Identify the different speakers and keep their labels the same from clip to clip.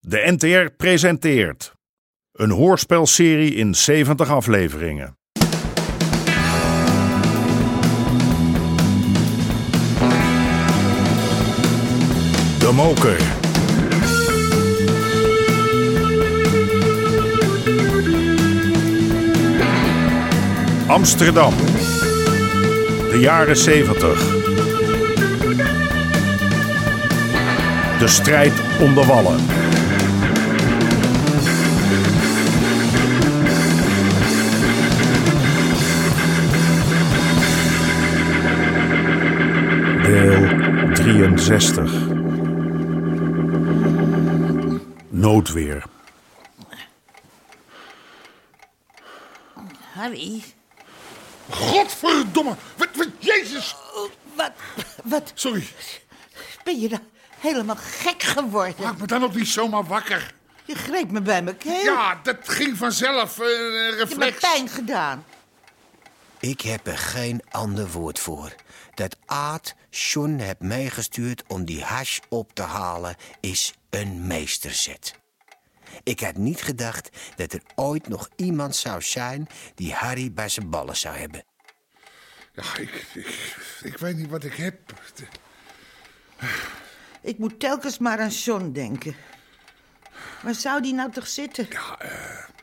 Speaker 1: De NTR presenteert een hoorspelserie in 70 afleveringen. De Moker. Amsterdam. De jaren 70. De strijd om de wallen. Deel 63. Noodweer.
Speaker 2: Harry,
Speaker 3: Godverdomme! Wat, wat, Jezus!
Speaker 2: Oh, wat, wat
Speaker 3: Sorry,
Speaker 2: ben je nou helemaal gek geworden?
Speaker 3: maak me dan ook niet zomaar wakker.
Speaker 2: Je greep me bij mijn keel.
Speaker 3: Ja, dat ging vanzelf. eh,
Speaker 2: je hebt me
Speaker 3: reflex.
Speaker 2: pijn gedaan.
Speaker 4: Ik heb er geen ander woord voor. Dat Aad John hebt meegestuurd om die hash op te halen is een meesterzet. Ik had niet gedacht dat er ooit nog iemand zou zijn die Harry bij zijn ballen zou hebben.
Speaker 3: ja, ik, ik, ik weet niet wat ik heb.
Speaker 2: Ik moet telkens maar aan John denken. Waar zou die nou toch zitten?
Speaker 3: Ja, eh,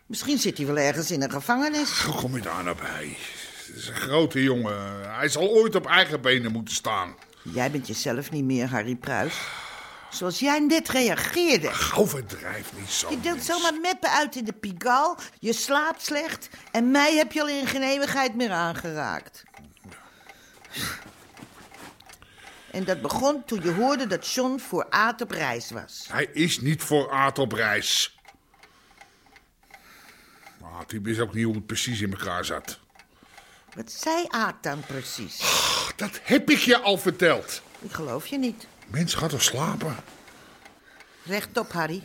Speaker 2: Misschien zit hij wel ergens in een gevangenis.
Speaker 3: hoe kom je daar nou bij? Het is een grote jongen. Hij zal ooit op eigen benen moeten staan.
Speaker 2: Jij bent jezelf niet meer, Harry Pruis. Zoals jij net reageerde.
Speaker 3: Overdrijf niet zo.
Speaker 2: Je deelt
Speaker 3: mens.
Speaker 2: zomaar meppen uit in de pigal, je slaapt slecht en mij heb je al in geen eeuwigheid meer aangeraakt. En dat begon toen je hoorde dat John voor Aad op reis was.
Speaker 3: Hij is niet voor Aad op reis. Maar die wist ook niet hoe het precies in elkaar zat.
Speaker 2: Wat zei Aad dan precies?
Speaker 3: Dat heb ik je al verteld.
Speaker 2: Ik geloof je niet.
Speaker 3: Mens gaat er slapen.
Speaker 2: Rechtop, Harry.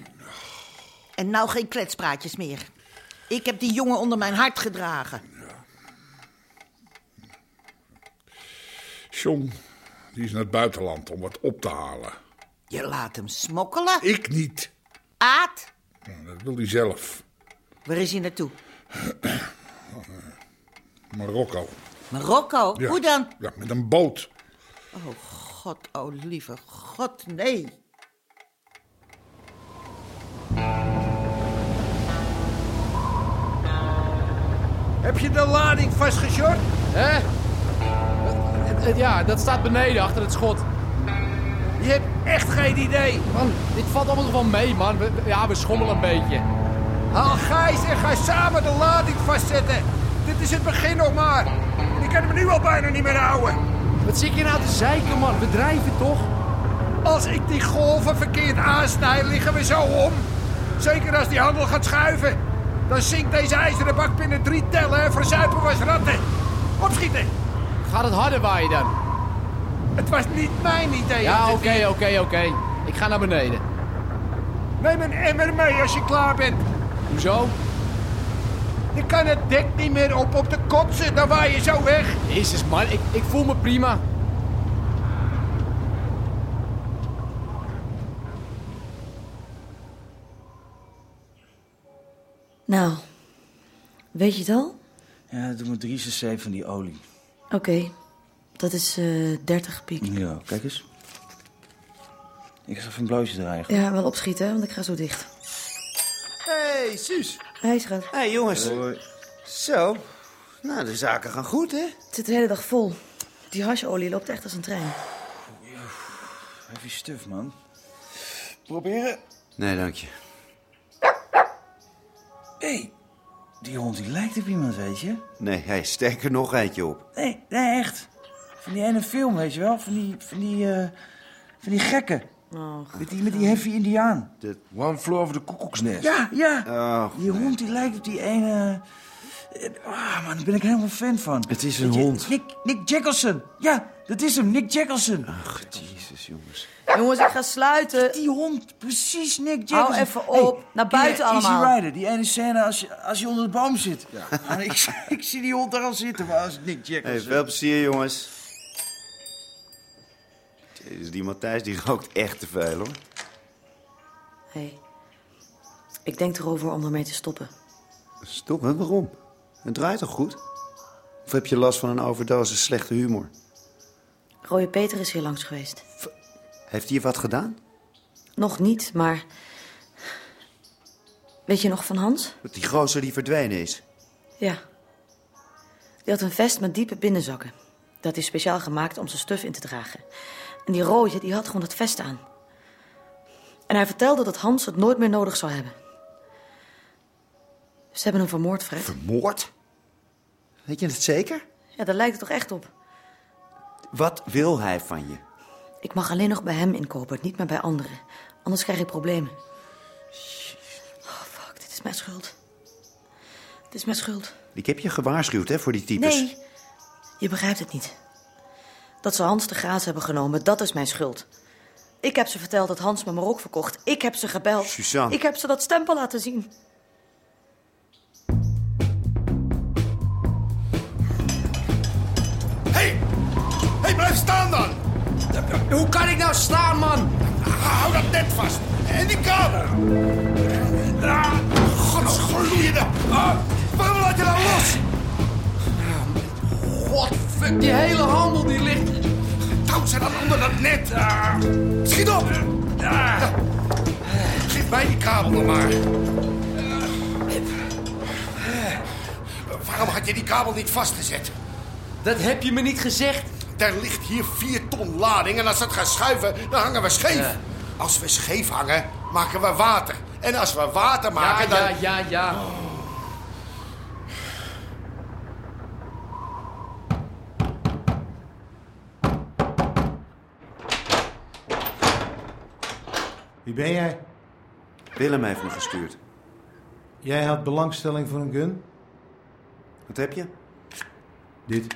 Speaker 2: En nou geen kletspraatjes meer. Ik heb die jongen onder mijn hart gedragen.
Speaker 3: John, die is naar het buitenland om wat op te halen.
Speaker 2: Je laat hem smokkelen.
Speaker 3: Ik niet.
Speaker 2: Aad,
Speaker 3: Nou, Dat wil hij zelf.
Speaker 2: waar is hij naartoe?
Speaker 3: Marokko.
Speaker 2: Marokko?
Speaker 3: Ja.
Speaker 2: Hoe dan?
Speaker 3: Ja, met een boot.
Speaker 2: God, oh lieve God, nee.
Speaker 5: Heb je de lading vastgeshort?
Speaker 6: Hè? Eh, eh, Ja, dat staat beneden achter het schot.
Speaker 5: Je hebt echt geen idee.
Speaker 6: Man, dit valt allemaal nog wel mee, man. We- we- ja, we schommelen een beetje.
Speaker 5: Haal Gijs en ga samen de lading vastzetten. Dit is het begin nog maar. Ik kan hem nu al bijna niet meer houden.
Speaker 6: Wat zit je nou te zeiken, man? We drijven toch?
Speaker 5: Als ik die golven verkeerd aansnij, liggen we zo om. Zeker als die handel gaat schuiven. Dan zinkt deze ijzeren bak binnen drie tellen en verzuipen was ratten. Opschieten.
Speaker 6: Gaat het harder waaien dan?
Speaker 5: Het was niet mijn idee.
Speaker 6: Ja, oké, oké, oké. Ik ga naar beneden.
Speaker 5: Neem een emmer mee als je klaar bent.
Speaker 6: Hoezo?
Speaker 5: Je kan het dek niet meer op op de kotsen, dan waai je zo weg.
Speaker 6: Jezus, man. Ik, ik voel me prima.
Speaker 7: Nou, weet je het al?
Speaker 8: Ja, doe maar 3 cc van die olie.
Speaker 7: Oké, dat is eh 30 piek.
Speaker 8: Ja, kijk eens. Ik ga even een blootje draaien.
Speaker 7: Ja, wel opschieten, hè, want ik ga zo dicht.
Speaker 9: Hey, Suus.
Speaker 7: Hij gaat.
Speaker 9: Hé, hey, jongens. Zo. Nou, de zaken gaan goed, hè?
Speaker 7: Het zit de hele dag vol. Die hasjolie loopt echt als een trein.
Speaker 8: Heavy stuff, man.
Speaker 9: Nee, dank je.
Speaker 8: Hé, hey, die hond die lijkt op iemand, weet je?
Speaker 9: Nee, hij steekt er nog eentje op.
Speaker 8: Nee, nee, echt. Van die ene film, weet je wel? Van die, van die, eh, van die gekken. met, die, met die heavy indiaan.
Speaker 9: Dat-
Speaker 8: One floor over de koekoeksnest. Ja, ja.
Speaker 9: Oh,
Speaker 8: die hond die lijkt op die ene... eh, Ah, man, daar ben ik helemaal fan van.
Speaker 9: Het is een
Speaker 8: Weet je,
Speaker 9: hond.
Speaker 8: Nick, Nick Jackelson. Ja, dat is hem, Nick Jackelson.
Speaker 9: Ach, jezus, jongens.
Speaker 7: Jongens, ik ga sluiten.
Speaker 8: Die hond, precies Nick
Speaker 7: Hou
Speaker 8: Jacobs.
Speaker 7: even op. Naar buiten allemaal.
Speaker 8: Easy Rider, die ene scène als je, als je onder de boom zit. Maar ik, zie- ik zie die hond daar al zitten, maar als Nick Jacobs.
Speaker 9: Hey, veel plezier, jongens. Jezus, die Matthijs die rookt echt te veel, hoor.
Speaker 7: Hé, hey, Ik denk erover om ermee te stoppen.
Speaker 9: Stoppen? Waarom? Het draait toch goed? Of heb je last van een overdosis slechte humor?
Speaker 7: Rooie Peter is hier langs geweest.
Speaker 9: Heeft hij je wat gedaan?
Speaker 7: Nog niet, maar... Weet je nog van Hans?
Speaker 9: Dat die gozer die verdwenen is.
Speaker 7: Ja. Die had een vest met diepe binnenzakken. Dat is speciaal gemaakt om zijn stuf in te dragen. En die rooie, die had gewoon dat vest aan. En hij vertelde dat Hans het nooit meer nodig zou hebben. Ze hebben hem vermoord, Fred.
Speaker 9: Vermoord? Weet je het zeker?
Speaker 7: Ja, daar lijkt het toch echt op.
Speaker 9: Wat wil hij van je?
Speaker 7: Ik mag alleen nog bij hem inkopen, niet meer bij anderen. Anders krijg ik problemen. Oh, fuck, dit is mijn schuld. Dit is mijn schuld.
Speaker 9: Ik heb je gewaarschuwd hè, voor die types.
Speaker 7: Nee, je begrijpt het niet. Dat ze Hans de Graas hebben genomen, dat is mijn schuld. Ik heb ze verteld dat Hans me maar ook verkocht. Ik heb ze gebeld.
Speaker 9: Suzanne.
Speaker 7: Ik heb ze dat stempel laten zien.
Speaker 5: Hé! Hé, blijf staan dan!
Speaker 6: Hoe kan ik nou slaan, man?
Speaker 5: Hou dat net vast. En die kamer. Ah, godsgloeiende. Ah, waarom laat je nou los?
Speaker 6: Godver, die hele handel die ligt...
Speaker 5: Touw ze dan onder dat net. Ah, schiet op. Ah, geef mij die kabel dan maar. Ah, waarom had je die kabel niet vastgezet?
Speaker 6: Dat heb je me niet gezegd.
Speaker 5: Er ligt hier vier ton lading en als dat gaat schuiven, dan hangen we scheef.
Speaker 6: Ja.
Speaker 5: Als we scheef hangen, maken we water. En als we water
Speaker 6: Ja,
Speaker 5: maken, dan...
Speaker 6: ja, ja, ja.
Speaker 10: Wie ben jij?
Speaker 9: Willem heeft me gestuurd.
Speaker 10: Jij had belangstelling voor een gun?
Speaker 9: Wat heb je?
Speaker 10: Dit.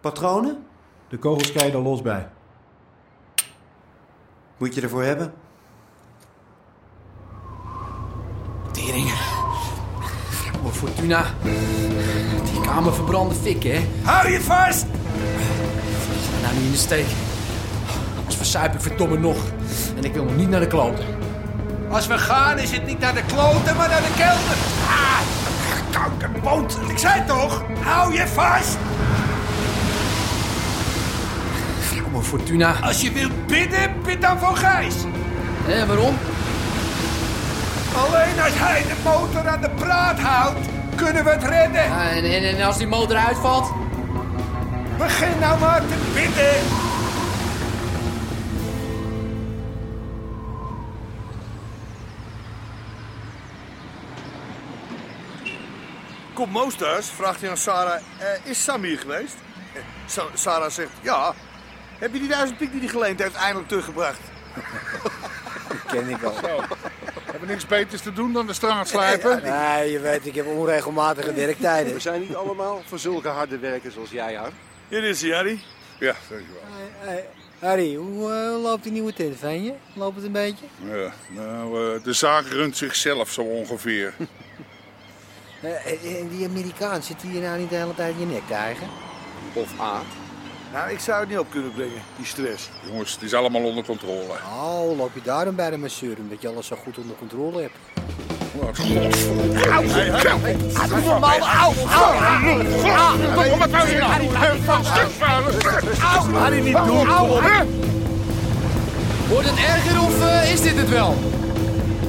Speaker 9: Patronen?
Speaker 10: De kogels kan je er los bij.
Speaker 9: Moet je ervoor hebben?
Speaker 6: Tering. Voor Fortuna. Die kamer verbrande fik, hè?
Speaker 5: Hou je vast!
Speaker 6: Maar nou niet in de steek. Als verzuip ik verdomme nog. En ik wil nog niet naar de kloten.
Speaker 5: Als we gaan is het niet naar de kloten, maar naar de kelder. Ah, koude boot. Ik zei toch, hou je vast.
Speaker 6: Voor Fortuna.
Speaker 5: Als je wilt bidden, bid dan voor Gijs.
Speaker 6: Hé, waarom?
Speaker 5: Alleen als hij de motor aan de praat houdt, kunnen we het redden.
Speaker 6: Ja, en, en, en als die motor uitvalt?
Speaker 5: Begin nou maar te bidden.
Speaker 3: Komt Moos thuis? Vraagt hij aan Sarah. eh, is Sam hier geweest? Eh, Sa- Sarah zegt ja. Heb je die duizend piek die hij geleend heeft eindelijk teruggebracht?
Speaker 9: Ken ik al.
Speaker 3: Hebben niks beters te doen dan de straat slijpen?
Speaker 9: Nee, je weet, ik heb onregelmatige werktijden.
Speaker 11: zijn niet allemaal van zulke harde werkers als jij, Har.
Speaker 3: Hier is hij, Harry. Ja, dankjewel.
Speaker 11: Harry, hoe eh, loopt die nieuwe tent van je? Loopt het een beetje?
Speaker 3: Ja, nou, eh, de zaak runt zichzelf zo ongeveer.
Speaker 11: Eh, eh, en die Amerikaan zit hier nou niet de hele tijd in je nek te eigen? Of aard.
Speaker 10: Nou, ik zou het niet op kunnen brengen, die stress.
Speaker 3: Jongens, het is allemaal onder controle.
Speaker 11: Oh, loop je daarom bij de masseur omdat je alles zo goed onder controle hebt?
Speaker 6: Wordt het erger of eh, is dit het wel?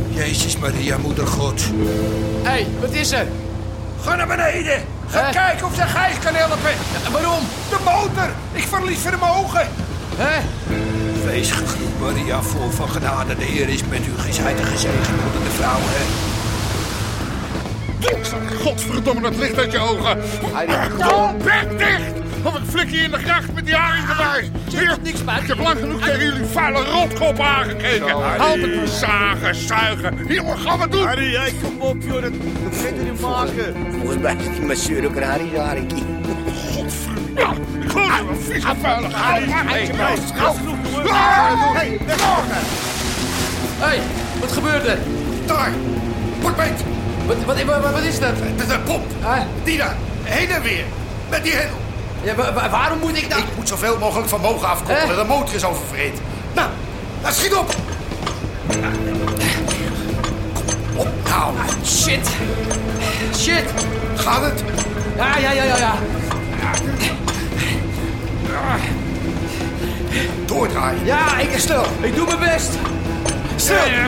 Speaker 5: Jezus Maria, moeder God.
Speaker 6: Hé, wat is er?
Speaker 5: Ga naar beneden. Ga
Speaker 6: Hè?
Speaker 5: kijken of ze Gijs kan helpen.
Speaker 6: Eh, waarom?
Speaker 5: De motor. Ik verlies vermogen.
Speaker 6: Hè?
Speaker 5: Wees gegroet, Maria, vol van genade. De Heer is met u. Gij de gezegend onder de vrouwen.
Speaker 3: Godverdomme, dat licht uit je ogen. Kom, bek dicht! Of ik flik je in de gracht met die haring
Speaker 5: Ah,
Speaker 3: erbij. Hier,
Speaker 6: niks bij.
Speaker 3: Ik heb lang genoeg tegen jullie vuile rotkop aangekeken. Altijd maar zagen, zuigen. Hier, wat gaan we doen? Harry, jij kom op, joh. Dat begint in maken.
Speaker 4: Volgens mij is die masseur ook een harinkie.
Speaker 3: Godverdomme. Goed, een vieze vuile Harry. Hey, hey, hey,
Speaker 6: Hé, wat gebeurt er?
Speaker 5: Daar. Pak beet.
Speaker 6: Wat, wat, wat, wat is dat?
Speaker 5: Dat is een pop.
Speaker 6: Hè?
Speaker 5: Die daar. Heen en weer. Met die hendel.
Speaker 6: Ja, wa- wa- waarom moet ik nou...
Speaker 5: Ik
Speaker 3: Eh?
Speaker 5: moet zoveel mogelijk vermogen afkoppelen.
Speaker 6: Hè?
Speaker 5: De motor is oververhit. Nou, nou schiet op.
Speaker 6: Au, shit. Shit. Gaat het? Ja, ja, ja, ja, ja. Doordraaien. Ja, ik stil. Ik doe mijn best. Stil. Ja.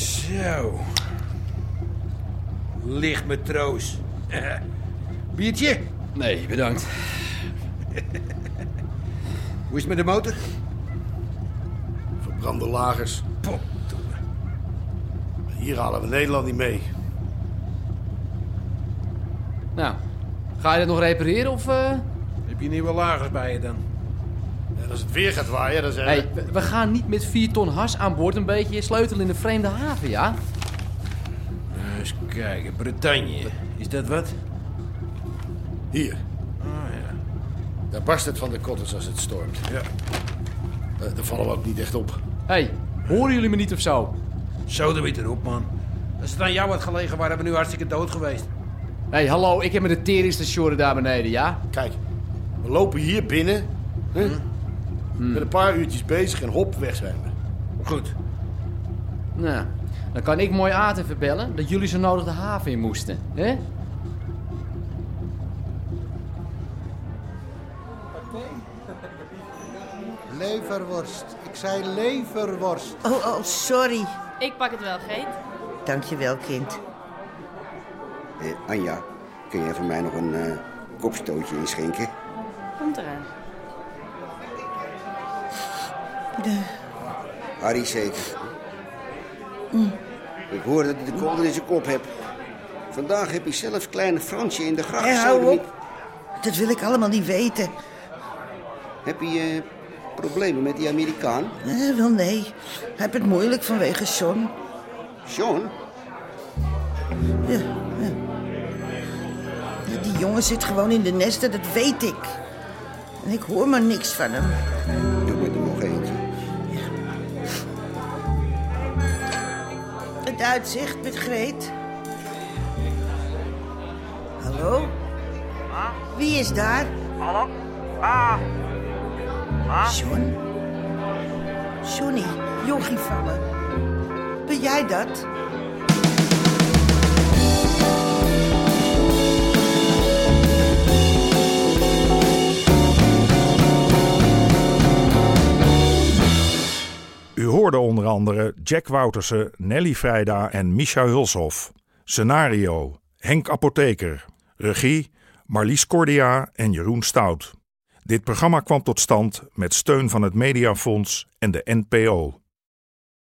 Speaker 12: Zo. Licht matroos. Biertje?
Speaker 6: Nee, bedankt.
Speaker 12: Hoe is het met de motor?
Speaker 3: Verbrande lagers. Hier halen we Nederland niet mee.
Speaker 6: Nou, ga je dat nog repareren of... eh?
Speaker 3: Heb je nieuwe lagers bij je dan? En als het weer gaat waaien, dan zijn we...
Speaker 6: Hey, we- we gaan niet met 4 ton hars aan boord een beetje sleutel in een vreemde haven, ja?
Speaker 12: Eens kijken, Bretagne. Is dat wat?
Speaker 3: Hier. Daar barst het van de kotters als het stormt. Ja. daar vallen we ook niet echt op.
Speaker 6: hey, horen jullie me niet of zo?
Speaker 12: Zo, de witte erop, man. Als het aan jou had gelegen, waren we nu hartstikke dood geweest.
Speaker 6: Hé, hey, hallo, ik heb met de tering te sjorren daar beneden, ja?
Speaker 3: Kijk, we lopen hier binnen. Hè? Met een paar uurtjes bezig en hop, weg zijn we.
Speaker 12: Hm. Goed.
Speaker 6: Nou, dan kan ik mooi Aad even bellen dat jullie zo nodig de haven in moesten, hè?
Speaker 5: Leverworst. Ik zei leverworst.
Speaker 2: Oh, oh, sorry.
Speaker 7: Ik pak het wel, Geet.
Speaker 2: Dankjewel, kind.
Speaker 8: Eh, Anja, kun jij voor mij nog een eh, kopstootje inschenken?
Speaker 7: Komt eraan.
Speaker 8: Harry zeker.
Speaker 7: Mm.
Speaker 8: Ik hoor dat hij de kolder in zijn kop hebt. Vandaag heb hij zelfs kleine Fransje in de gracht.
Speaker 2: Hé, hou
Speaker 8: Sodemiet.
Speaker 2: Dat wil ik allemaal niet weten.
Speaker 8: Heb je eh, problemen met die Amerikaan?
Speaker 2: Eh, wel nee. Hij heeft het moeilijk vanwege John.
Speaker 8: John?
Speaker 2: Ja, ja. Ja, Die jongen zit gewoon in de nesten, dat weet ik. En ik hoor maar niks van hem.
Speaker 8: Doe me er nog eentje.
Speaker 2: Het uitzicht met Greet. Hallo? Wie is daar? Hallo? Ah. John? Johnny, jochie vallen. Ben jij dat?
Speaker 1: U hoorde onder andere Jack Woutersen, Nelly Vrijda en Misha Hulshof. Scenario: Henk Apotheker. Regie: Marlies Cordia en Jeroen Stout. Dit programma kwam tot stand met steun van het Mediafonds en de NPO.